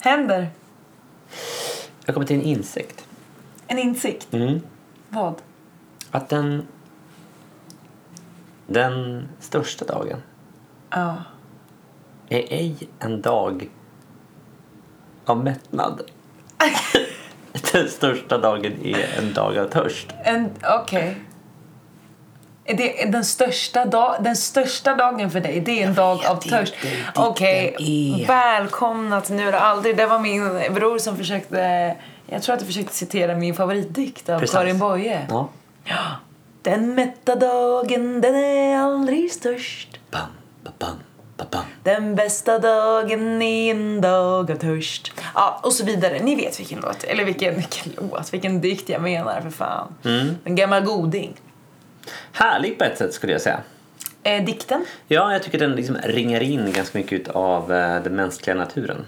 Händer. Jag kommer till en insikt. En insikt. Mm. Vad? Att den... Den största dagen Ja. är ej en dag av mättnad. den största dagen är en dag av törst. En- Okej. Är Det är den, största dag, den största dagen för dig, det är en dag av törst. inte Okej, riktigt är. välkomna till Nu eller aldrig. Det var min bror som försökte, jag tror att du försökte citera min favoritdikt av Precis. Karin Boye. Ja. Den mätta dagen, den är aldrig störst. Bam, ba, bam, ba, bam. Den bästa dagen är en dag av törst. Ja, och så vidare. Ni vet vilken låt, eller vilken, vilken låt, vilken dikt jag menar för fan. En gammal goding. Härlig på ett sätt skulle jag säga. Eh, dikten? Ja, jag tycker den liksom ringar in ganska mycket av eh, den mänskliga naturen.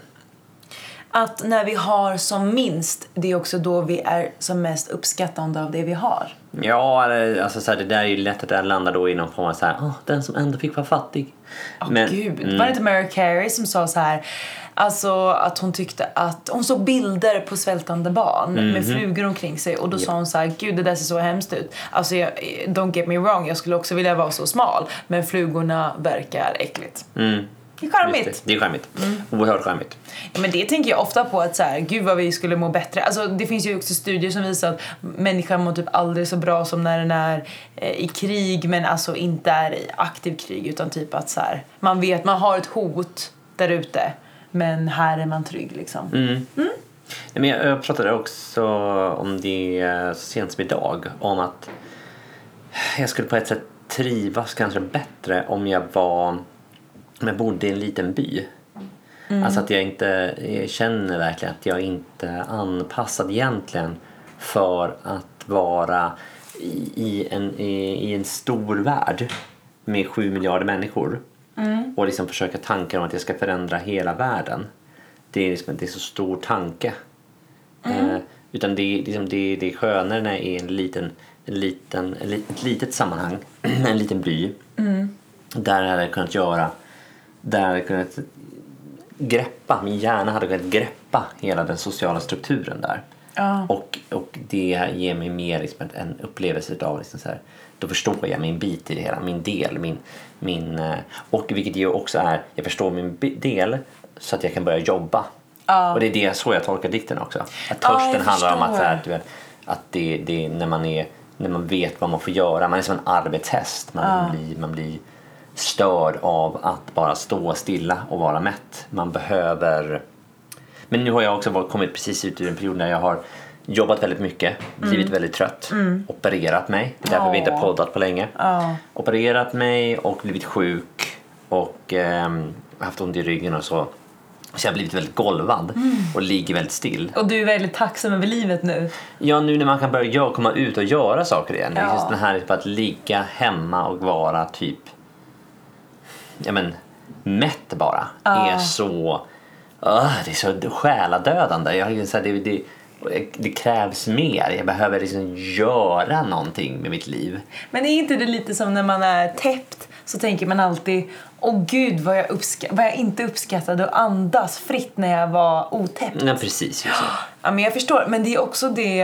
att när vi har som minst, det är också då vi är som mest uppskattande av det vi har. Ja, eller, alltså så här, det där är ju lätt att det här landar då i någon form av så här, "Ah, den som ändå fick vara fattig. Åh gud, var det inte Mary Carey som sa så här, alltså att hon tyckte att, hon såg bilder på svältande barn med flugor omkring sig och då sa hon så här, gud det där ser så hemskt ut. Alltså jag, don't get me wrong, jag skulle också vilja vara så smal, men flugorna verkar äckligt. Mm, Det är just charmigt. det, det är charmigt. Oerhört charmigt. Ja, men det tänker jag ofta på att så här, gud vad vi skulle må bättre. Alltså, det finns ju också studier som visar att människan mår typ aldrig så bra som när den är eh, i krig men alltså inte är i aktiv krig utan typ att så här, man vet man har ett hot där ute men här är man trygg liksom. Nej, men jag, jag pratade också om det eh, så sent som idag. Om att jag skulle på ett sätt trivas kanske bättre om jag var om jag bodde i en liten by. Alltså att jag inte jag känner verkligen att jag inte är anpassad egentligen för att vara i, i, en, i, i en stor värld med sju miljarder människor och liksom försöka tankar om att jag ska förändra hela världen. Det är liksom inte så stor tanke. Mm. Eh, utan det, är liksom det, det är skönare när det är en liten, en liten, en li- ett litet sammanhang, en liten by. Mm. Där jag hade kunnat göra, där jag hade kunnat greppa, min hjärna hade kunnat greppa hela den sociala strukturen där. Ja. Och, och det ger mig mer liksom ett- en upplevelse av liksom så här, då förstår jag min bit i det hela, min del. Min, min, eh, och vilket ju också är, jag förstår min bi- del så att jag kan börja jobba. Ja. Och det är det så jag tolkar dikten också. Att Ja, jag törsten handlar om att, så förstår. här, du vet, att det, det är när man är när man vet vad man får göra. Man är som en arbetshäst. Man, blir, man blir störd av att bara stå stilla och vara mätt. Man behöver... Men nu har jag också varit- kommit precis ut ur en period när jag har jobbat väldigt mycket, Mm. blivit väldigt trött, opererat mig. Det är därför vi inte har Åh. poddat på länge. Ja. Opererat mig och blivit sjuk och ehm, haft ont i ryggen och så. Så jag har blivit väldigt golvad Mm. och ligger väldigt still. Och du är väldigt tacksam över livet nu. Ja, nu när man kan börja gö- komma ut och göra saker igen. Det är Ja. just den här liksom att ligga hemma och vara typ... Ja, men mätt bara. Är så... Öh, det är så själadödande. Jag, har ju så här, det, det, det krävs mer. Jag behöver liksom göra någonting med mitt liv. Men är inte det lite som när man är täppt så tänker man alltid Åh gud vad jag, uppska- vad jag inte uppskattade att andas fritt när jag var otäppt. Ja, precis. Just det. Ja, men jag förstår, men det är också det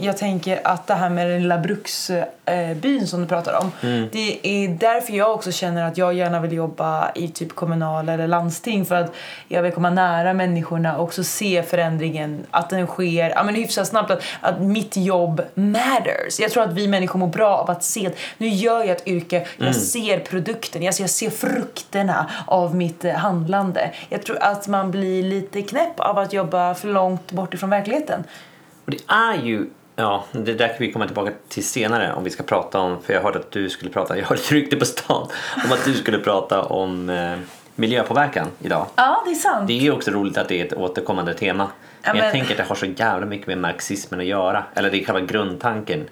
jag tänker att det här med den lilla bruksbyn som du pratar om. Det är därför jag också känner att jag gärna vill jobba i typ kommunal eller landsting för att jag vill komma nära människorna och också se förändringen, att den sker ja, men hyfsat snabbt, att, att mitt jobb matters. Jag tror att vi människor mår bra av att se, att nu gör jag ett yrke, jag ser produkten, alltså jag ser frukterna av mitt eh, handlande. Jag tror att man blir lite knäpp av att jobba för långt bort ifrån verkligheten. Och det är ju... Ja, det där kan vi komma tillbaka till senare om vi ska prata om, för jag hörde att du skulle prata, jag hörde ett rykte på stan om att du skulle prata om eh, miljöpåverkan idag. Ja, det är sant. Det är också roligt att det är ett återkommande tema. men, jag men- tänker att det har så jävla mycket med marxismen att göra. Eller det är själva grundtanken.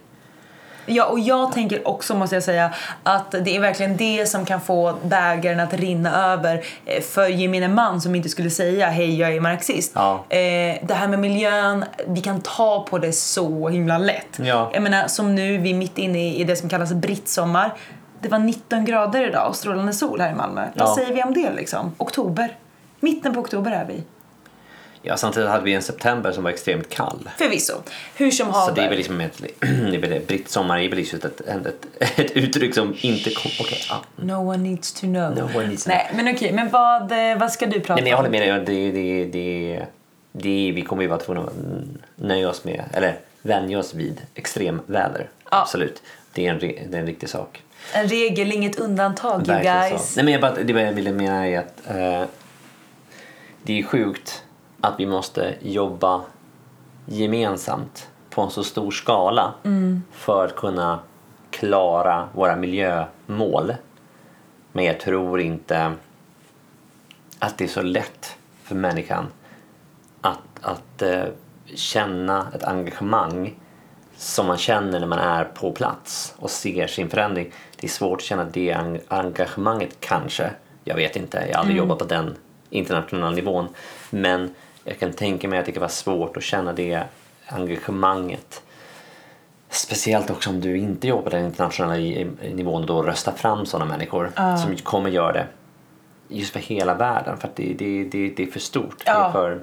Ja, och jag tänker också måste jag säga att det är verkligen det som kan få bägaren att rinna över eh, för gemene man som inte skulle säga hej jag är marxist. Ja. Eh, det här med miljön, vi kan ta på det så himla lätt. Ja. Jag menar som nu, vi är mitt inne i i det som kallas brittsommar. Det var 19 grader idag och strålande sol här i Malmö. Ja. Vad säger vi om det liksom? Oktober. Mitten på oktober är vi. Ja, samtidigt hade vi en september som var extremt kall. Förvisso. Hur som Så haver. det är väl liksom ett, det är väl ett britt sommar är väl liksom ett, ett, ett uttryck som inte kom... Okej, ja. No one needs to know. No one needs to Nej, men okej. Men vad, eh, vad ska du prata Nej, men jag om? håller med dig. Det, det, det, det, vi kommer ju vara tvungna att nöja oss med, eller vänja oss vid extremväder. Ja. Absolut. Det är en, re- det är en riktig sak. En regel, inget undantag, you Verkligen guys. Så. Nej, men jag bara, det jag ville mena är att eh, det är sjukt att vi måste jobba gemensamt på en så stor skala Mm. för att kunna klara våra miljömål. Men jag tror inte att det är så lätt för människan att, att eh, känna ett engagemang som man känner när man är på plats och ser sin förändring. Det är svårt att känna det en- engagemanget kanske. Jag vet inte, jag har aldrig jobbat på den internationella nivån. Men jag kan tänka mig att det kan vara svårt att känna det engagemanget. Speciellt också om du inte jobbar på den internationella i- i- nivån och då röstar fram sådana människor som kommer göra det just för hela världen för att det, det, det, det är för stort. Det, Ja. är för,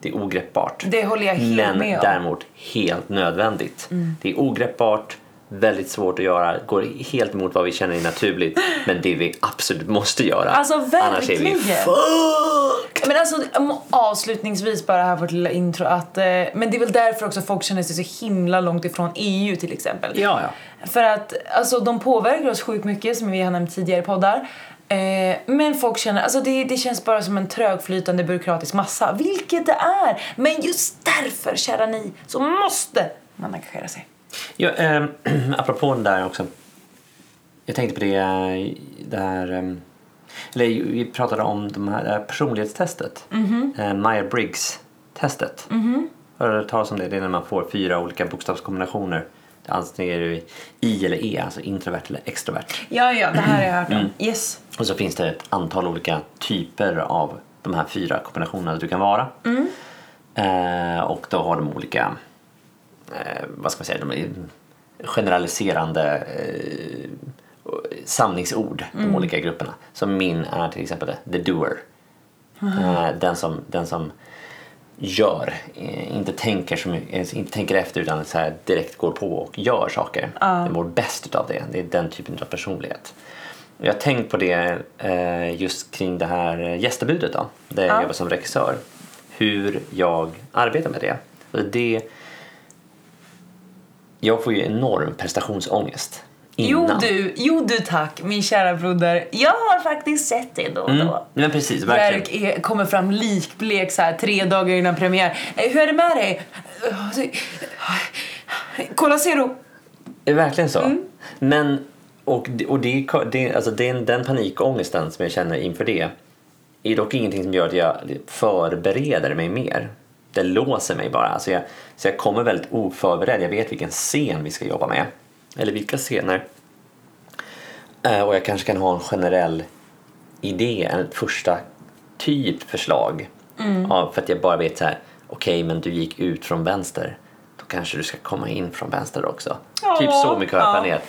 det är ogreppbart. Det håller jag helt med Men om. Mm. däremot helt nödvändigt. Det är ogreppbart, väldigt svårt att göra, går helt emot vad vi känner är naturligt men det vi absolut måste göra. Alltså, Annars är vi verkligen. fucked! Men alltså om- avslutningsvis bara här vårt lilla intro att eh, men det är väl därför också folk känner sig så himla långt ifrån EU till exempel. Ja, ja. För att alltså de påverkar oss sjukt mycket som vi har nämnt tidigare i poddar. Eh, men folk känner, alltså det, det känns bara som en trögflytande byråkratisk massa, vilket det är. Men just därför, kära ni, så måste man engagera sig. Ja, ähm, apropå den där också. Jag tänkte på det, eh, det här... ehm, eller vi pratade om de här, det här personlighetstestet. Eh, Meyer-Briggs-testet. Har du hört talas om det? Det är när man får fyra olika bokstavskombinationer. Antingen är du I eller E, alltså introvert eller extrovert. Ja, ja, det här har jag hört om. Mm. Yes. Och så finns det ett antal olika typer av de här fyra kombinationerna du kan vara. Eh, och då har de olika, eh, vad ska man säga, de är generaliserande eh, samlingsord, Mm. de olika grupperna. Så min är till exempel the doer. Eh, den som, den som gör, eh, inte tänker, som, eh, inte tänker efter utan så här direkt går på och gör saker. Den mår bäst utav det. Det är den typen av personlighet. Och Jag har tänkt på det eh, just kring det här gästebudet då, där jag jobbar som regissör. Hur jag arbetar med det. Och det jag får ju enorm prestationsångest innan. Jo du, jo du tack, min kära broder. Jag har faktiskt sett det då och Mm. då. Men precis, verkligen. Verk är, kommer fram likblek så här, tre dagar innan premiär. Eh, Hur är det med dig? Kolla Zero! Det är verkligen så. Men, och och det, det, alltså den, den panikångesten som jag känner inför det är dock ingenting som gör att jag förbereder mig mer. Det låser mig bara. Alltså jag, så jag kommer väldigt oförberedd. Jag vet vilken scen vi ska jobba med. Eller vilka scener. Eh, Och jag kanske kan ha en generell idé, en första typ förslag. Mm. Ja, för att jag bara vet så här, okej men du gick ut från vänster, då kanske du ska komma in från vänster också. Ja, typ så mycket har jag ja. planerat.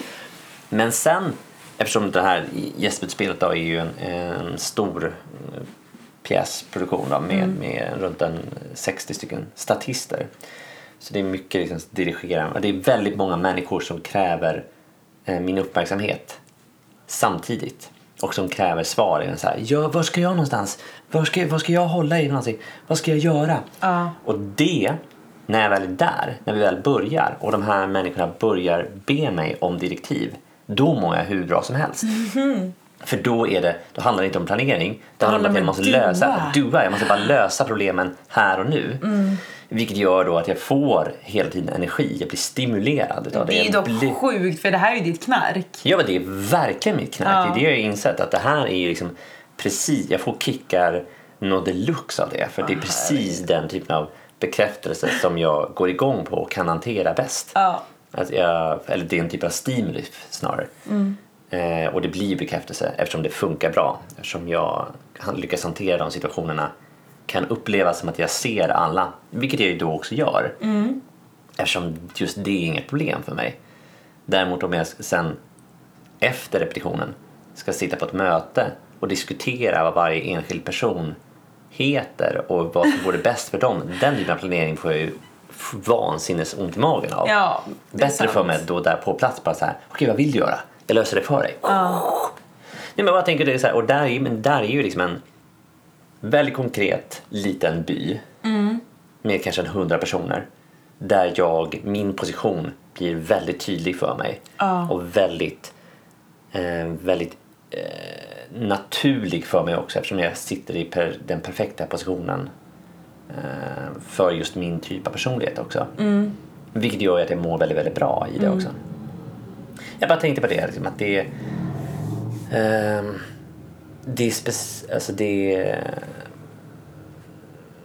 Men sen, eftersom det här gästbudspelet då är ju en, en stor eh, pjäsproduktion då, med, Mm. med runt en 60 stycken statister. Så det är mycket liksom dirigerande. Och Det är väldigt många människor som kräver eh, min uppmärksamhet samtidigt och som kräver svar. Är så här, ja, var ska jag någonstans? Var ska, var ska jag hålla i någonting? Vad ska jag göra? Ja. Och det, när jag väl är där, när vi väl börjar och de här människorna börjar be mig om direktiv, då mår jag hur bra som helst. För då, är det, då handlar det inte om planering, det Mhm. handlar om att Mm. jag måste doa. lösa, doa, jag måste bara lösa problemen här och nu. Vilket gör då att jag får hela tiden energi, jag blir stimulerad utav det. Det är ju Jag dock blir- sjukt för det här är ju ditt knark. Ja, men det är verkligen mitt knark. Ja. Det är det jag har insett. Att det här är ju liksom precis, jag får kickar nå deluxe av det. För Ah, det är precis den typen av bekräftelse som jag går igång på och kan hantera bäst. Ja. Att jag, eller det är en typ av stimuli snarare. Mm. Eh, och det blir bekräftelse eftersom det funkar bra. Eftersom jag han- lyckas hantera de situationerna kan upplevas som att jag ser alla, vilket jag ju då också gör. Eftersom just det är inget problem för mig. Däremot om jag sen efter repetitionen ska sitta på ett möte och diskutera vad varje enskild person heter och vad som vore bäst för dem. Den typen av planering får jag ju f- vansinnes ont i magen av. Ja, det är Bättre sant. för mig då där på plats bara så här, okej vad vill du göra? Jag löser det för dig. Ja. Nej, men jag tänker det är så här, och där är, ju- men där är ju liksom en väldigt konkret liten by med kanske en hundra personer där jag, min position blir väldigt tydlig för mig Ja. och väldigt, eh, väldigt eh, naturlig för mig också eftersom jag sitter i per, den perfekta positionen eh, för just min typ av personlighet också. Vilket gör ju att jag mår väldigt, väldigt bra i det också. Jag bara tänkte på det, liksom, att det är Ehm, det, är spec- alltså det, är-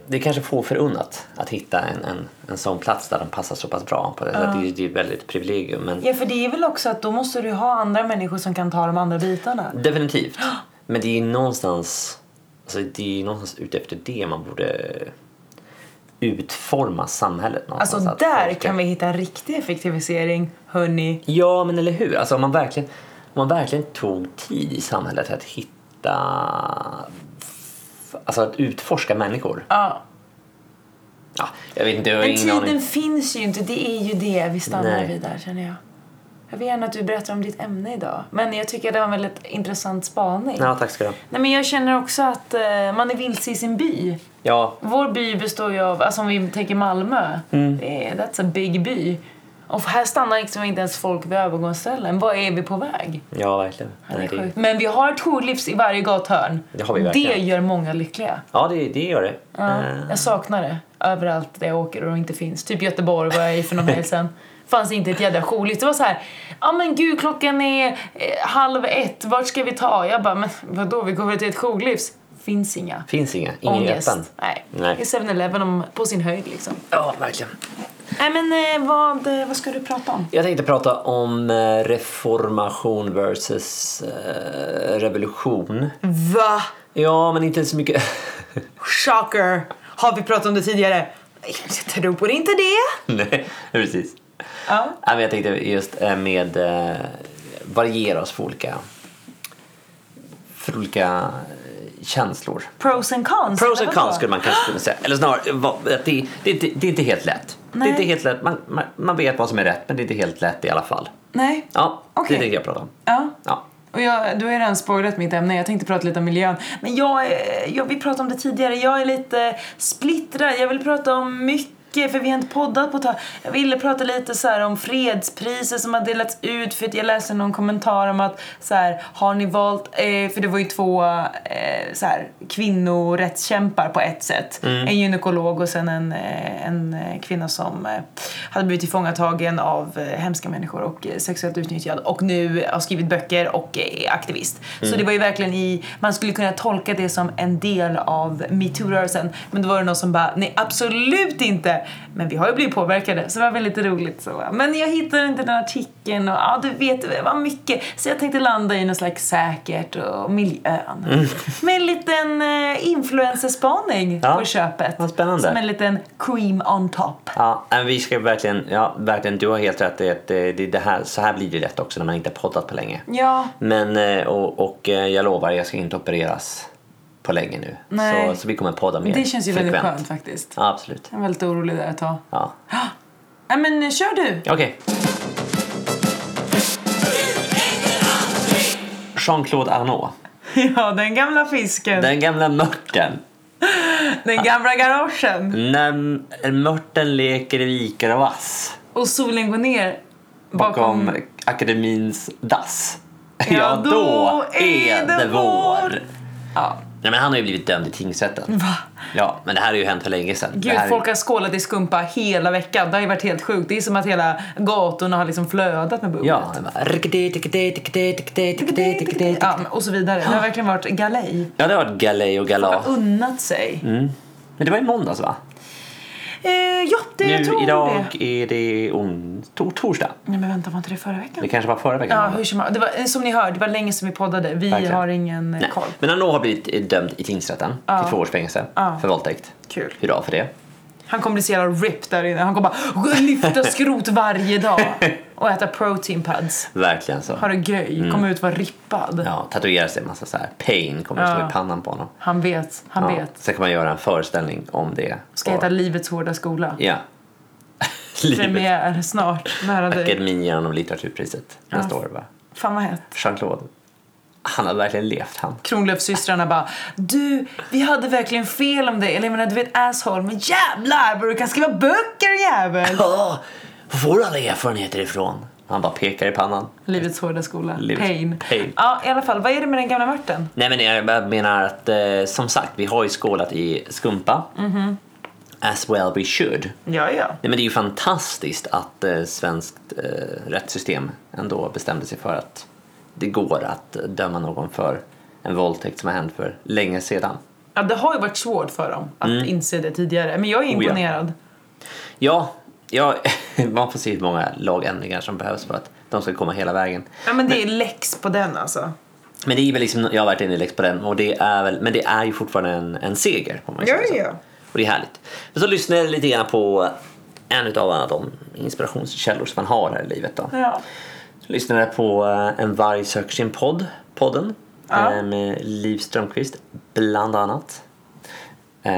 det är kanske få förunnat att hitta en, en, en sån plats där de passar så pass bra. På det. Så att det, är- det är väldigt privilegium. Men Ja, för det är väl också att då måste du ha andra människor som kan ta de andra bitarna. Definitivt. Men det är någonstans, alltså det är någonstans ute efter det man borde utforma samhället Alltså någonstans. Att där folk ska- kan vi hitta en riktig effektivisering, hörni. Ja, men eller hur? Alltså, om, man verkligen, om man verkligen tog tid i samhället att hitta... Alltså att utforska människor. Ja. Ja, jag vet inte, jag har Men ingen tiden aning. finns ju inte, det är ju det vi stannar Nej. vid där känner jag. Jag vill gärna att du berättar om ditt ämne idag. Men jag tycker det var en väldigt intressant spaning. Ja, tack ska du ha. Nej men jag känner också att eh, man är vilse i sin by. Ja, Vår by består ju av, alltså om vi tänker Malmö, Mm. det är, that's a big by. Och här stannar liksom inte ens folk vid övergångsställen. Var är vi på väg? ja verkligen. Det är Nej, det, sjukt. Men vi har jourlivs i varje gathörn. Det har vi verkligen. Det gör många lyckliga. ja, det, det gör det. Ja, Eh, jag saknar det överallt där jag åker och de inte finns. Typ Göteborg var jag i för någon helg sedan. Fanns inte ett jädra jourliv. Det var så här, ja men gud klockan är eh, halv ett, vart ska vi ta? Jag bara, men vadå vi går väl till ett jourlivs? Finns inga. finns inga. Ingen Ångest. öppen. Nej. Nej. Det är 7-Eleven om- på sin höjd liksom. Ja, verkligen. Nej men eh, vad, eh, vad ska du prata om? Jag tänkte prata om eh, reformation versus eh, revolution. Va? Ja, men inte så mycket... Shocker! Har vi pratat om det tidigare? Jag tror inte det. Nej, precis. Ja. Ja, men jag tänkte just eh, med eh, variera oss för olika, för olika eh, känslor. Pros and cons. Pros and eller vadå? cons skulle man kanske kunna säga. Eller snarare, vad- att det, det, är inte- det är inte helt lätt. Det Nej. är inte helt lätt. Man, man, man vet vad som är rätt, men det är inte helt lätt i alla fall. Nej. Ja, Okej. det tänkte jag prata om. Ja. Ja. Och jag, du har ju redan spoilat mitt ämne, jag tänkte prata lite om miljön. Men jag, är- jag vi pratade om det tidigare, jag är lite splittrad. Jag vill prata om mycket, för vi har inte poddat på ett tag. Jag ville prata lite så här om fredspriser som har delats ut, för att jag läste någon kommentar om att så här, har ni valt, eh, för det var ju två eh, så här, kvinnorättskämpar på ett sätt. En gynekolog och sen en, eh, en eh, kvinna som eh, hade blivit tillfångatagen av eh, hemska människor och eh, sexuellt utnyttjad och nu har skrivit böcker och eh, är aktivist. Mm. Så det var ju verkligen i, man skulle kunna tolka det som en del av metoo-rörelsen. Men då var det någon som bara, nej absolut inte! Men vi har ju blivit påverkade, så det var väldigt roligt. Så. Men jag hittade inte den artikeln och ja, du vet, det var mycket. Så jag tänkte landa i något slags säkert och miljön. Mm. Med en liten eh, influencerspaning Ja, på köpet. vad spännande. Som en liten cream on top. Ja, men vi ska verkligen, ja, verkligen, du har helt rätt. Det, det, det, det här, så här blir det lätt också när man inte har poddat på länge. Ja, Men, eh, och, och eh, jag lovar, jag ska inte opereras på länge nu. Nej. Så, så vi kommer podda mer det känns ju väldigt frekvent. skönt faktiskt. Ja, absolut. Jag är väldigt orolig där ett tag. Ja. Nej men eh, kör du! Okej. Jean-Claude Arnault. Ja, den gamla fisken. Den, Den gamla mörten. gamla garagen. När m- mörten leker i vikar och vass Och solen går ner bakom akademins dass. Ja, då är det vår. Ja. Nej, men han har ju blivit dömd i tingsrätten. Va? Ja, men det här har ju hänt för länge sedan. Gud, det här... folk har skålat i skumpa hela veckan. Det har ju varit helt sjukt. Det är som att hela gatorna har liksom flödat med bubbel. Ja, det bara... Ja, men- och så vidare. Det har verkligen varit galej. Ja, det har varit galej och De gala. har unnat sig. Mm. Men det var i måndags va? Eh, ja, det jag Nu tror idag det. är det on... tor- torsdag. Nej, men vänta, var inte det förra Det veckan? kanske var förra veckan. Ja, hur som helst. Det var, eh, som ni hör, det var länge sedan vi poddade. Vi Verkligen. har ingen eh, Nej. koll. Men Arnault har blivit eh, dömd i tingsrätten till två års fängelse Ja. för våldtäkt. Kul. Hurra för det. Han kommer bli så jävla ripped där inne. Han kommer bara lyfta skrot varje dag och äta protein pads. Verkligen så. Har det gröj, kommer ut vara rippad. Mm. Ja, tatuerar sig en massa så här pain kommer att Ja. stå i pannan på honom. Han vet, han Ja. vet. Sen kan man göra en föreställning om det. Ska Och- heta Livets hårda skola. Ja. Livet. Premiär snart, nära dig. Akademien och litteraturpriset nästa år va? Fan vad hett. Jean-Claude. Han har verkligen levt han. Kronlöfssystrarna bara Du, vi hade verkligen fel om dig. Eller jag menar, du vet asshole, men jävlar vad du kan skriva böcker jävel! Ja, var får du alla erfarenheter ifrån? Han bara pekar i pannan. Livets hårda skola. Livets- Pain. pain. Ja, i alla fall. Vad är det med den gamla Mörten? Nej men jag bara menar att eh, som sagt, vi har ju skålat i skumpa. Mhm. As well we should. Ja, ja. Nej, men det är ju fantastiskt att eh, svenskt eh, rättssystem ändå bestämde sig för att det går att döma någon för en våldtäkt som har hänt för länge sedan. Ja, det har ju varit svårt för dem att inse det tidigare. Men jag är Mm. Oh, ja. imponerad. Ja, ja man får se hur många lagändringar som behövs för att de ska komma hela vägen. Ja, men det är läx på den alltså. Men det är väl liksom, jag har varit inne på den, och det är väl, men det är ju fortfarande en, en seger. Om man säger så. Och det är härligt. Men så lyssnade jag lite grann på en utav alla de inspirationskällor som man har här i livet. Då. ja. lyssnade på eh, En varg söker sin podd, podden Ja. eh, med Liv Strömquist bland annat. Eh,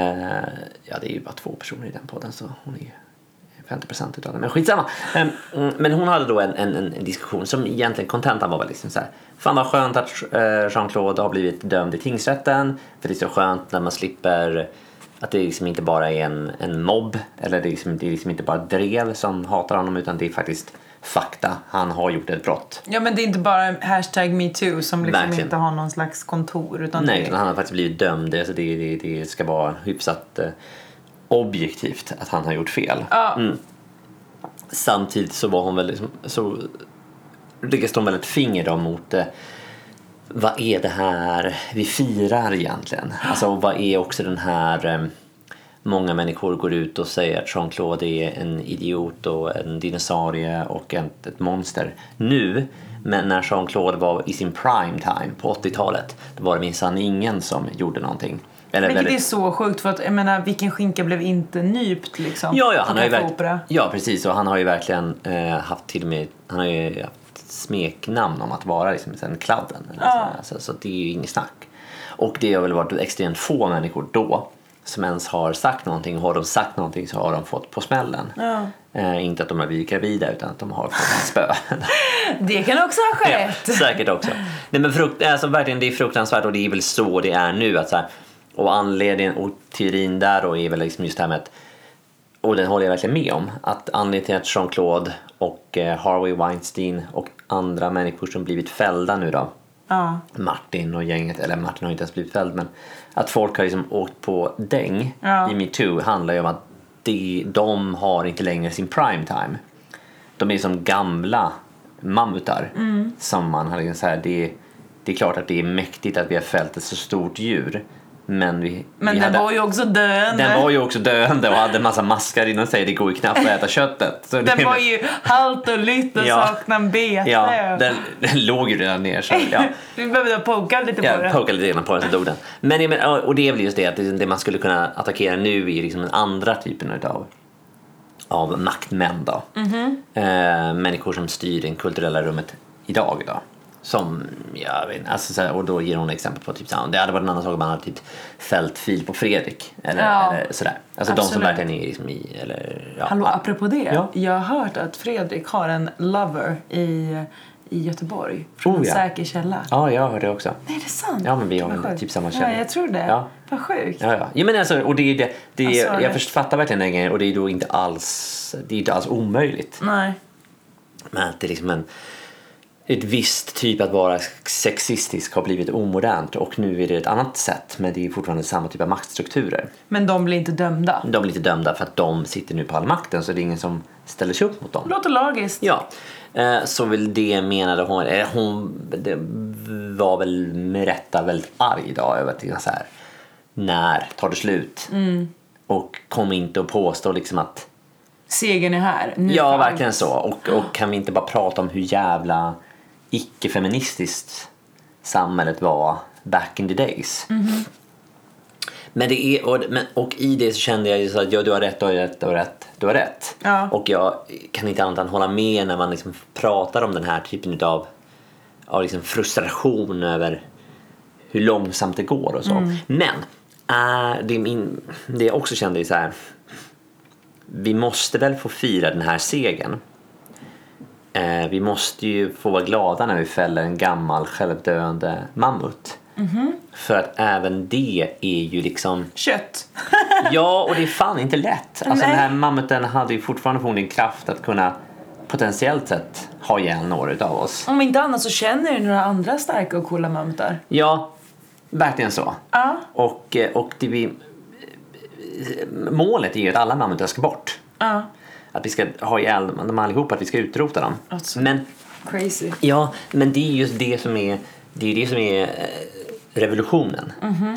Ja, det är ju bara två personer i den podden så hon är ju 50% utav den, men skitsamma. Eh, mm, Men hon hade då en, en, en en diskussion som egentligen kontentan var väl liksom så här. Fan vad skönt att eh, Jean-Claude har blivit dömd i tingsrätten för det är så skönt när man slipper att det liksom inte bara är en, en mobb eller det är, liksom, det är liksom inte bara drev som hatar honom utan det är faktiskt fakta. Han har gjort ett brott. Ja, men det är inte bara en hashtag metoo som liksom Verkligen. inte har någon slags kontor. Utan Nej, det utan han har faktiskt blivit dömd. Alltså det, det, det ska vara hyfsat eh, objektivt att han har gjort fel. Ja. Mm. Samtidigt så var hon väl liksom, så lyckas de väl ett finger då mot eh, vad är det här vi firar egentligen? Alltså och vad är också den här eh, Många människor går ut och säger att Jean-Claude är en idiot och en dinosaurie och ett, ett monster nu. Men när Jean-Claude var i sin prime time på 80-talet då var det minsann ingen som gjorde någonting. Eller Vilket väldigt- är så sjukt för att jag menar vilken skinka blev inte nypt liksom? Ja, ja, på han har ju Café verk- Opera. ja precis. Och han har ju verkligen eh, haft till och med han har ju haft smeknamn om att vara liksom, sen kladden. Eller Ja. sådär. så, så det är ju inget snack. Och det har väl varit extremt få människor då som ens har sagt någonting. Har de sagt någonting så har de fått på smällen. Ja. Eh, inte att de har blivit gravida utan att de har fått spö. Det kan också ha Ja, skett. säkert också. Nej, men frukt, alltså, verkligen, det är fruktansvärt och det är väl så det är nu. Att, så här, och anledningen och teorin där då är väl liksom just det här med att, och den håller jag verkligen med om, att anledningen till att Jean-Claude och eh, Harvey Weinstein och andra människor som blivit fällda nu då, Ja. Martin och gänget, eller Martin har inte ens blivit fälld, men att folk har liksom åkt på däng Ja. i metoo handlar ju om att de, de har inte längre sin prime time. De är som gamla mammutar. Mm. Som man har liksom så här, det, det är klart att det är mäktigt att vi har fällt ett så stort djur, men vi, Men vi den hade, var ju också döende. den var ju också döende och hade en massa maskar inom sig, det går ju knappt att äta köttet. Så det- Den var ju halt och lytt och Ja. saknade bete. Ja, den, den låg ju redan ner. Så, ja. Vi behövde poka lite på Ja, den. pokade lite grann på den så dog den. Men, jag menar, och det är väl just det att det man skulle kunna attackera nu är liksom den andra typen utav av maktmän då. Mhm. Eh, människor som styr det kulturella rummet idag då. Som, jag vet inte, alltså, så här, och då ger hon exempel på typ så här, det hade varit en annan sak om man hade typ fällt fil på Fredrik eller, Ja. eller sådär. Alltså de som Absolut. verkligen är liksom i, eller ja. Hallå, apropå det. Ja. Jag har hört att Fredrik har en lover i, i Göteborg. Från Oh, en ja. säker källa. Ja, jag hörde det också. Nej, är det sant? Ja, men vi har Vad väl sjukt. typ samma Ja, källa. jag tror det. Ja. Vad sjukt. Ja, ja. ja men alltså, och det är det, det är, Alltså, jag det- först- fattar verkligen den grejen och det är då inte alls, det är inte alls omöjligt. Nej. Men att det är liksom en, ett visst typ att vara sexistisk har blivit omodernt och nu är det ett annat sätt men det är fortfarande samma typ av maktstrukturer. Men de blir inte dömda. De blir inte dömda för att de sitter nu på all makten så det är ingen som ställer sig upp mot dem. Låter lagiskt. Ja, eh, så väl det menade hon. eh, Hon det var väl med rätta väldigt arg idag över att det är så här. När tar det slut? Och kom inte och påstå liksom att Segern är här. Nu ja, fan. verkligen så. Och, och kan vi inte bara prata om hur jävla Mm. icke-feministiskt samhället var back in the days? Men det är, och, men, och i det så kände jag ju så att ja, du har rätt, du har rätt, du har rätt, du har rätt. Ja. Och jag kan inte annat än hålla med när man liksom pratar om den här typen utav av liksom frustration över hur långsamt det går och så. Mm. Men äh, det, är min, det jag också kände är så här. Vi måste väl få fira den här segern. Eh, vi måste ju få vara glada när vi fäller en gammal självdöende mammut. Mhm. För att även det är ju liksom... Kött. Ja, och det är fan inte lätt. Alltså Nej. den här mammuten hade ju fortfarande förmodligen kraft att kunna potentiellt sett ha ihjäl några utav oss. Om inte annat så känner du några andra starka och coola mammutar. Ja, verkligen så. Ja. Och, eh, och det vi, målet är ju att alla mammutar ska bort. Ja. Att vi ska ha ihjäl dem dem allihopa, att vi ska utrota dem. Alltså. Men, Crazy. ja, men det är just det som är, det är, det som är eh, revolutionen.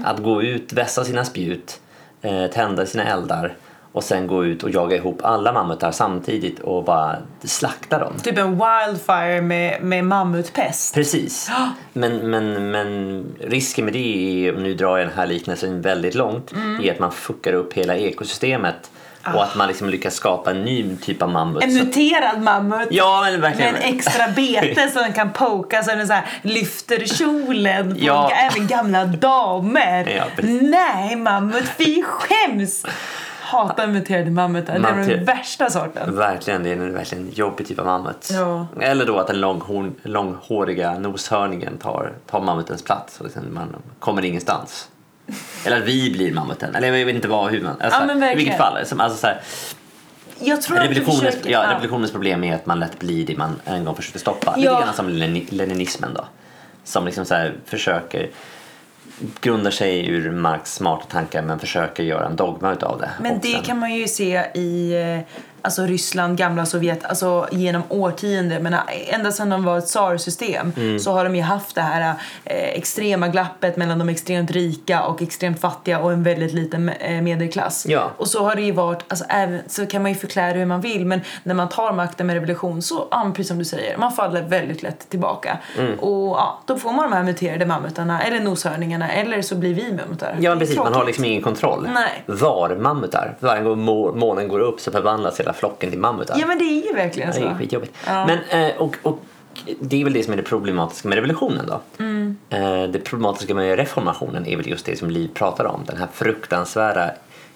Att gå ut, vässa sina spjut, eh, tända sina eldar och sen gå ut och jaga ihop alla mammutar samtidigt och bara slakta dem. Typ en wildfire med, med mammutpest. Precis. Men, men, men risken med det är, om nu drar jag den här liknelsen väldigt långt, är att man fuckar upp hela ekosystemet och att man liksom lyckas skapa en ny typ av mammut. En Så- muterad mammut. Ja, men Med verkligen. en extra bete som den kan poka så den så här lyfter kjolen på Ja. olika, även gamla damer. Ja, precis. Nej mammut, fy skäms! Hatar muterade mammutar, det är Muter- den värsta sorten. Verkligen, det är en verkligen jobbig typ av mammut. Ja. Eller då att den långhorn, långhåriga noshörningen tar, tar mammutens plats och liksom man kommer ingenstans. Eller att vi blir mammuten. Eller jag vet inte vad, hur man... Alltså, Ja, men I verkligen. vilket fall. Som, alltså, så här, Jag tror att du Revolutionens, försöker... ja, revolutionens problem är att man lätt blir det man en gång försökte stoppa. Ja. Lite grann som Lenin- leninismen då. Som liksom så här försöker grundar sig ur Marx smarta tankar men försöker göra en dogma utav det. Men Och det sen- kan man ju se i eh, alltså Ryssland, gamla Sovjet, alltså genom årtionden. Men eh, ända sedan de var ett tsarsystem Mm. så har de ju haft det här eh, extrema glappet mellan de extremt rika och extremt fattiga och en väldigt liten eh, medelklass. Ja. Och så har det ju varit, alltså, även, så kan man ju förklara hur man vill men när man tar makten med revolution så, ja, men precis som du säger, man faller väldigt lätt tillbaka. Mm. Och ja, då får man de här muterade mammutarna eller noshörningarna eller så blir vi mammutar. Ja, Det är precis. Man har tråkigt. liksom ingen kontroll. Nej. Var mammutar. Varje gång må- månen går upp så förvandlas hela flocken till mammutar. Ja men det är ju verkligen så. Det är skitjobbigt. Ja. Men, eh, och, och det är väl det som är det problematiska med revolutionen då. Mm. Eh, Det problematiska med reformationen är väl just det som Liv pratar om. Den här fruktansvärda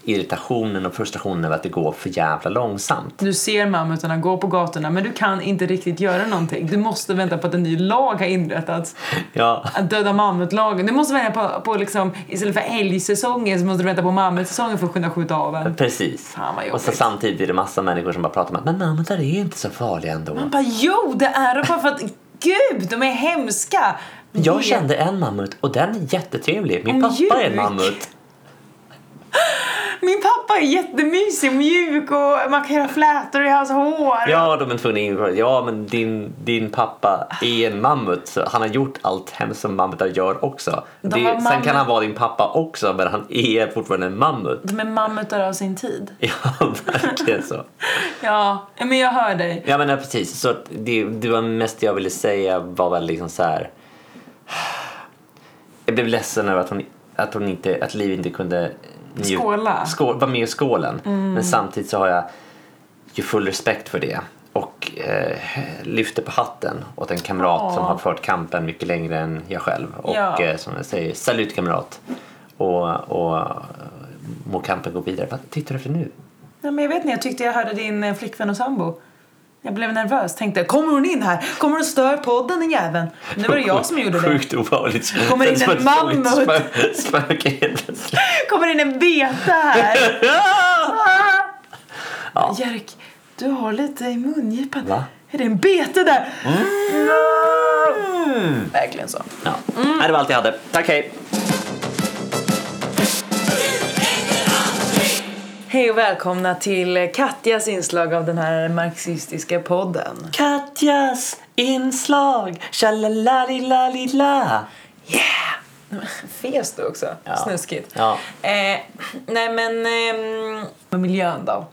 irritationen och frustrationen över att det går för jävla långsamt. Du ser mammutarna gå på gatorna men du kan inte riktigt göra någonting. Du måste vänta på att en ny lag har inrättats. Ja, Att döda mammutlagen. Du måste vänta på, på liksom, istället för älgsäsongen så måste du vänta på mammutsäsongen för att kunna skjuta av en. precis. Fan, vad och så jobbigt. samtidigt är det massa människor som bara pratar om att men mammutar är inte så farliga ändå. Man bara jo det är de bara för att gud de är hemska. Jag Det- kände en mammut och den är jättetrevlig. Min Och pappa är en mjuk. mammut. Min pappa är jättemysig och mjuk och man kan göra flätor i hans hår. Ja, de är tvungna in. Ja, men din, din pappa är en mammut. Så han har gjort allt hemskt som mammutar gör också. De Det, var sen mammut. kan han vara din pappa också, men han är fortfarande en mammut. De är mammutar av sin tid. Ja, verkligen så. Ja, men jag hör dig. Ja, men ja, precis. Så att det, det var mest jag ville säga var väl liksom så här. Jag blev ledsen över att hon, att hon inte, att Liv inte kunde nju- Skåla. Mm. Skål, vara med i skålen. Men samtidigt så har jag ju full respekt för det och eh, lyfter på hatten åt en kamrat Ja. som har fört kampen mycket längre än jag själv. Och Ja. eh, som jag säger, salut kamrat. Och, och eh, må kampen gå vidare. Vad tittar du efter nu? Ja, men jag vet inte, jag tyckte jag hörde din eh, flickvän och sambo. Jag blev nervös, tänkte kommer hon in här? Kommer hon störa podden den jäveln? Nu var det jag som gjorde det. Sjukt obehagligt. Kommer in Sen en så var det mammut. ett spö- Spöke helt plötsligt. Kommer in en beta här. Ja. Jerk, du har lite i mungipan. Va? Är det en bete där? Mm. Verkligen så. Ja. Mm. Nej, Det var allt jag hade. Tack, hej. Hej och välkomna till Katjas inslag av den här marxistiska podden. Katjas inslag, tjalalalalila. Yeah! Fes du också? Ja. Snuskigt. Ja. Eh, nej men... ehm, med miljön då.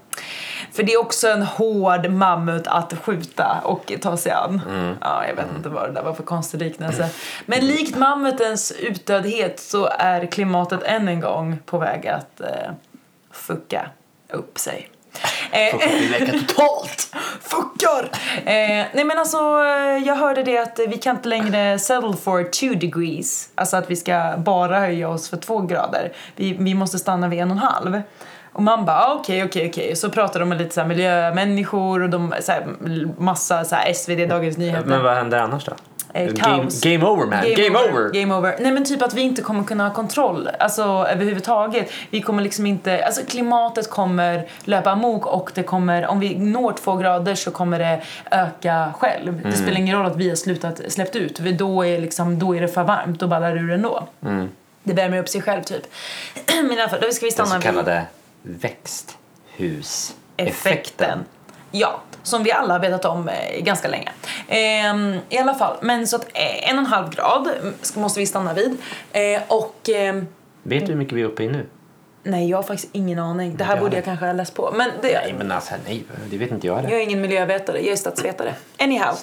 För det är också en hård mammut att skjuta och ta sig an. Mm. Ja, jag vet inte vad det där var för konstig liknelse. Men likt mammutens utdödhet så är klimatet än en gång på väg att eh, fucka upp sig. Eh, Fucka totalt! Fuckar! Eh, nej men alltså, eh, jag hörde det att eh, vi kan inte längre settle for two degrees. Alltså att vi ska bara höja oss för två grader. Vi, vi måste stanna vid en och en halv. Och man bara, ah, okej, okej, okej. Så pratar de med lite så här miljömänniskor och de, så här, massa så här, SvD, Dagens Nyheter. Men vad händer annars då? Eh, game, kaos. game over man, game, over! Game over. Nej men typ att vi inte kommer kunna ha kontroll, alltså överhuvudtaget. Vi kommer liksom inte, alltså klimatet kommer löpa amok och det kommer, om vi når två grader så kommer det öka själv. Mm. Det spelar ingen roll att vi har slutat, släppt ut, för då är, liksom, då är det för varmt, då ballar det ur ändå. Mm. Det värmer upp sig själv typ. men i alla fall, då ska vi Den stanna så vid- kallade växthuseffekten. effekten. Ja, som vi alla har vetat om eh, ganska länge. Ehm, I alla fall, men så att eh, en och en halv grad mm, ska- måste vi stanna vid. Eh, och ehm, Vet du hur mycket vi är uppe i nu? nej, jag har faktiskt ingen aning. Det här Jag borde har- jag kanske ha läst på. Men det, Nej men alltså nej, det vet inte jag heller. jag är ingen miljövetare, jag är statsvetare. Anyhow,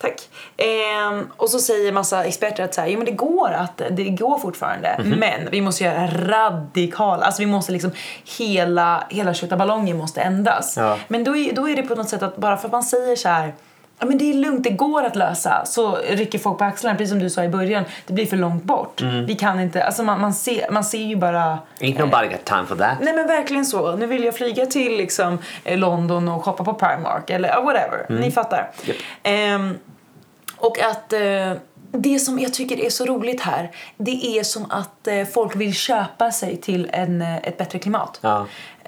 tack. Ehm, och så säger massa experter att så här, jo, men det går att, det går fortfarande. Mhm. Men vi måste göra radikala, alltså vi måste liksom hela, hela tjottaballongen måste ändras. Ja. Men då är, då är det på något sätt att bara för att man säger så här Ja, men det är lugnt, det går att lösa. Så rycker folk på axlarna, precis som du sa i början. Det blir för långt bort. Mm. Vi kan inte, alltså man, man, ser, man ser ju bara Ain't nobody got time for that. Nej men verkligen så. Nu vill jag flyga till liksom, eh, London och shoppa på Primark eller ja, whatever. Ni fattar. Japp. Ehm, och att eh, det som jag tycker är så roligt här det är som att eh, folk vill köpa sig till en, eh, ett bättre klimat. Ja.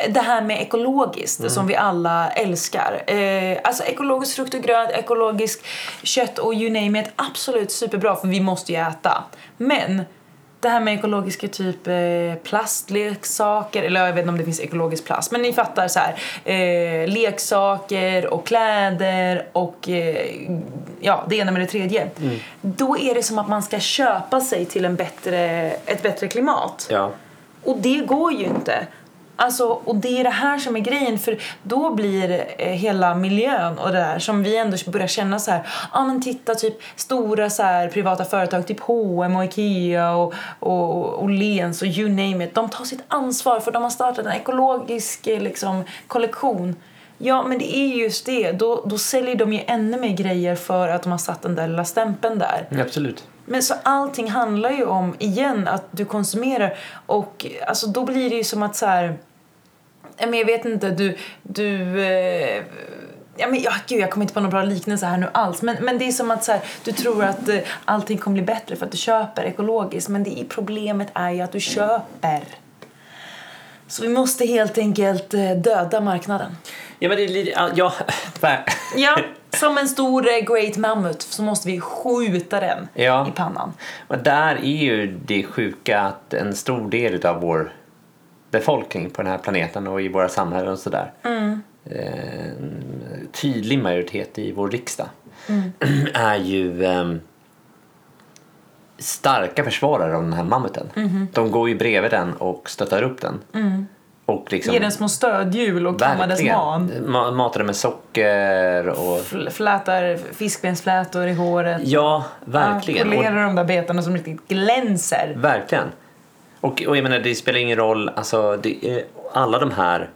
Det här med ekologiskt som vi alla älskar. Eh, alltså ekologisk frukt och grönt, ekologiskt kött och you name it. Absolut superbra för vi måste ju äta. Men det här med ekologiska typ eh, plastleksaker, eller jag vet inte om det finns ekologisk plast, men ni fattar så här. Eh, leksaker och kläder och eh, ja, det ena med det tredje. Då är det som att man ska köpa sig till en bättre, ett bättre klimat. Ja. Och det går ju inte. Alltså, och det är det här som är grejen för då blir eh, hela miljön och det där som vi ändå börjar känna så här, ja ah, men titta typ stora så här privata företag typ H&M och Ikea och, och, och Lens och you name it. De tar sitt ansvar för de har startat en ekologisk eh, liksom kollektion. Ja men det är just det, då, då säljer de ju ännu mer grejer för att de har satt den där lilla stämpeln där. Absolut. Men så allting handlar ju om, igen, att du konsumerar och alltså, då blir det ju som att så här, ja, men jag vet inte, du, du eh, Ja, men, ja, gud, jag kommer inte på någon bra liknelse här nu alls. Men, men det är som att så här, du tror att eh, allting kommer bli bättre för att du köper ekologiskt. Men det är, problemet är ju att du köper. Så vi måste helt enkelt eh, döda marknaden. Ja men det är lite, ja, Ja, som en stor eh, great mammut så måste vi skjuta den Ja. i pannan. Men där är ju det sjuka att en stor del av vår befolkning på den här planeten och i våra samhällen och sådär. Mm. eh, En tydlig majoritet i vår riksdag Mm. är ju ehm, starka försvarare av den här mammuten. Mm-hmm. De går ju bredvid den och stöttar upp den. Och liksom, Ge Mm. den små stödhjul och kamma dess verkligen, man. ma- matar den med socker och... Fl- Flätar fiskbensflätor i håret. Ja, verkligen. Och Polerar de där betarna som riktigt glänser. Verkligen. Och, och jag menar, det spelar ingen roll, alltså, det är, alla de här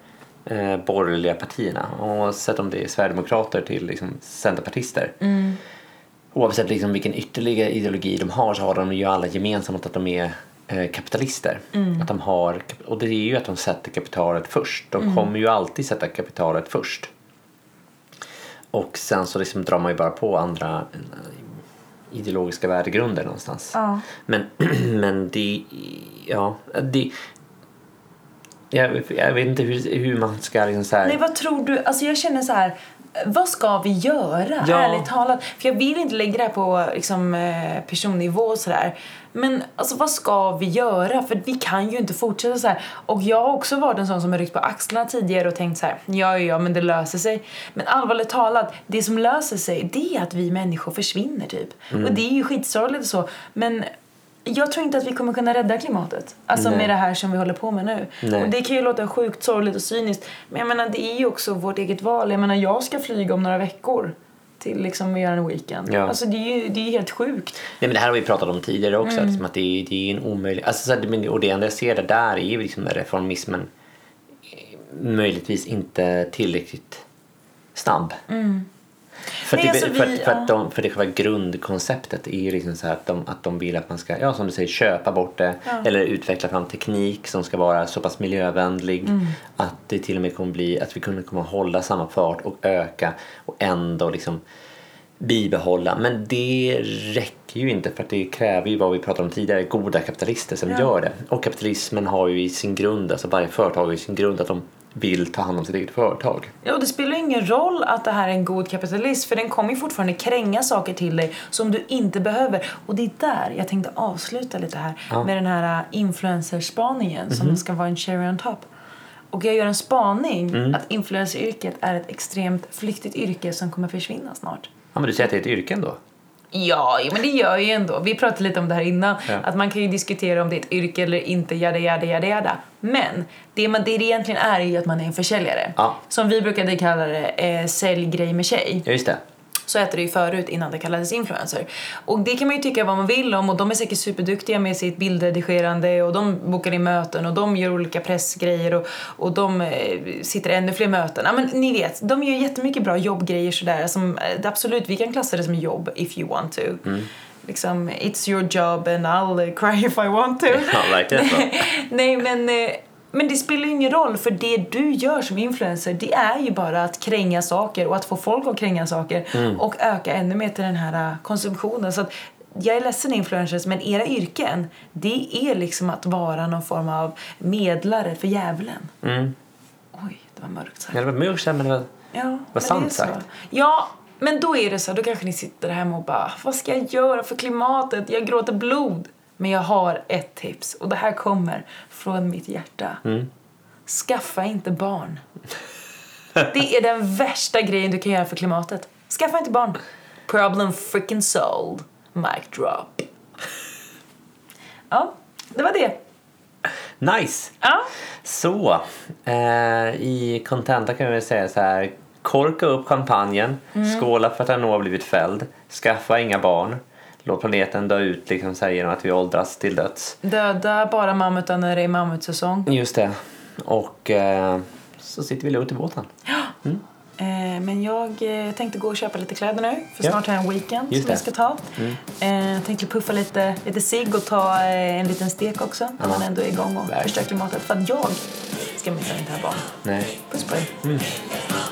eh, borgerliga partierna, oavsett om det är sverigedemokrater till liksom, centerpartister, oavsett liksom, vilken ytterligare ideologi de har så har de ju alla gemensamt att de är eh, kapitalister. Att de har, kap- och det är ju att de sätter kapitalet först. De kommer ju alltid sätta kapitalet först. Och sen så liksom drar man ju bara på andra eh, ideologiska värdegrunder någonstans. Ja. Men, men det... Ja, det... Jag, jag vet inte hur, hur man ska liksom så här... Nej, vad tror du? Alltså jag känner så här. eh, Vad ska vi göra? Ja. Ärligt talat. För jag vill inte lägga det här på liksom, eh, personnivå och sådär. Men alltså, vad ska vi göra? För vi kan ju inte fortsätta så här. Och jag har också varit en sån som har ryckt på axlarna tidigare och tänkt så här. Ja, ja, ja, men det löser sig. Men allvarligt talat, det som Mm. löser sig det är att vi människor försvinner typ. Och det är ju skitsorgligt och så. Men jag tror inte att vi kommer kunna rädda klimatet. Alltså Nej. med det här som vi håller på med nu. Nej. Och det kan ju låta sjukt sorgligt och cyniskt. Men jag menar det är ju också vårt eget val. Jag menar jag ska flyga om några veckor. Till liksom att göra en weekend. Ja. Alltså det är ju det är ju helt sjukt. Nej, men det här har vi pratat om tidigare också, liksom att det, är- det är en omöjlig... Alltså, så att, men- och det enda jag ser det där är ju liksom när reformismen eh, möjligtvis inte tillräckligt snabb. För, Mm. Nej, att det, alltså för, vi- att, för, att de, för det själva grundkonceptet är ju liksom så här att, de, att de vill att man ska, ja som du säger, köpa bort det eller utveckla fram teknik som ska vara så pass miljövänlig Mm. att det till och med kommer bli att vi kommer kommer hålla samma fart och öka och ändå liksom bibehålla. Men det räcker ju inte för att det kräver ju vad vi pratade om tidigare, goda kapitalister som gör det. Och kapitalismen har ju i sin grund, alltså varje företag har i sin grund att de vill ta hand om sitt eget företag. Ja, och det spelar ju ingen roll att det här är en god kapitalist för den kommer ju fortfarande kränga saker till dig som du inte behöver. Och det är där jag tänkte avsluta lite här med den här äh, influencerspaningen som ska vara en cherry on top. Och jag gör en spaning att influenceryrket är ett extremt flyktigt yrke som kommer försvinna snart. Ja men du säger att det är ett yrke ändå? Ja, jo, men det gör ju ändå. Vi pratade lite om det här innan. Ja. Att man kan ju diskutera om det är ett yrke eller inte, yada, yada, yada, yada. Men det, man, det det egentligen är är ju att man är en försäljare. Ja. Som vi brukade kalla det, eh, sälj grej med tjej. Ja just det. Så hette det ju förut innan det kallades influencer. Och det kan man ju tycka vad man vill om och de är säkert superduktiga med sitt bildredigerande och de bokar in möten och de gör olika pressgrejer och, och de eh, sitter i ännu fler möten. Ja men ni vet, de gör jättemycket bra jobbgrejer sådär som eh, absolut, vi kan klassa det som jobb if you want to. Liksom, it's your job and I'll eh, cry if I want to. Ja verkligen så. Nej, men, eh, men det spelar ju ingen roll för det du gör som influencer det är ju bara att kränga saker och att få folk att kränga saker och öka ännu mer till den här eh, konsumtionen. Så att, jag är ledsen influencers, men era yrken det är liksom att vara någon form av medlare för djävulen. Mm. Oj, det var mörkt sagt. Ja, det var mörkt men det var... Ja, men det är sant så. sagt. Ja, men då är det så. Då kanske ni sitter hemma och bara Vad ska jag göra för klimatet? Jag gråter blod. Men jag har ett tips och det här kommer från mitt hjärta. Mm. Skaffa inte barn. Det är den värsta grejen du kan göra för klimatet. Skaffa inte barn. Problem freaking solved. Mic drop. Ja, det var det. Nice! Ja. Så, eh, i kontenta kan vi väl säga så här. Korka upp champagnen, skåla för att Arnault har blivit fälld, skaffa inga barn, låt planeten dö ut liksom så här, genom att vi åldras till döds. Döda bara mammutar när det är mammutsäsong. Just det. Och eh, så sitter vi lugnt i båten. Eh, men jag eh, tänkte gå och köpa lite kläder nu, för Ja. snart har jag en weekend Just som det. Mm. jag ska ta. Eh, jag tänkte puffa lite, lite cigg och ta eh, en liten stek också, när man ändå är igång och förstör klimatet. För att jag ska minsann inte ha barn. Nej. Puss på er. Mm.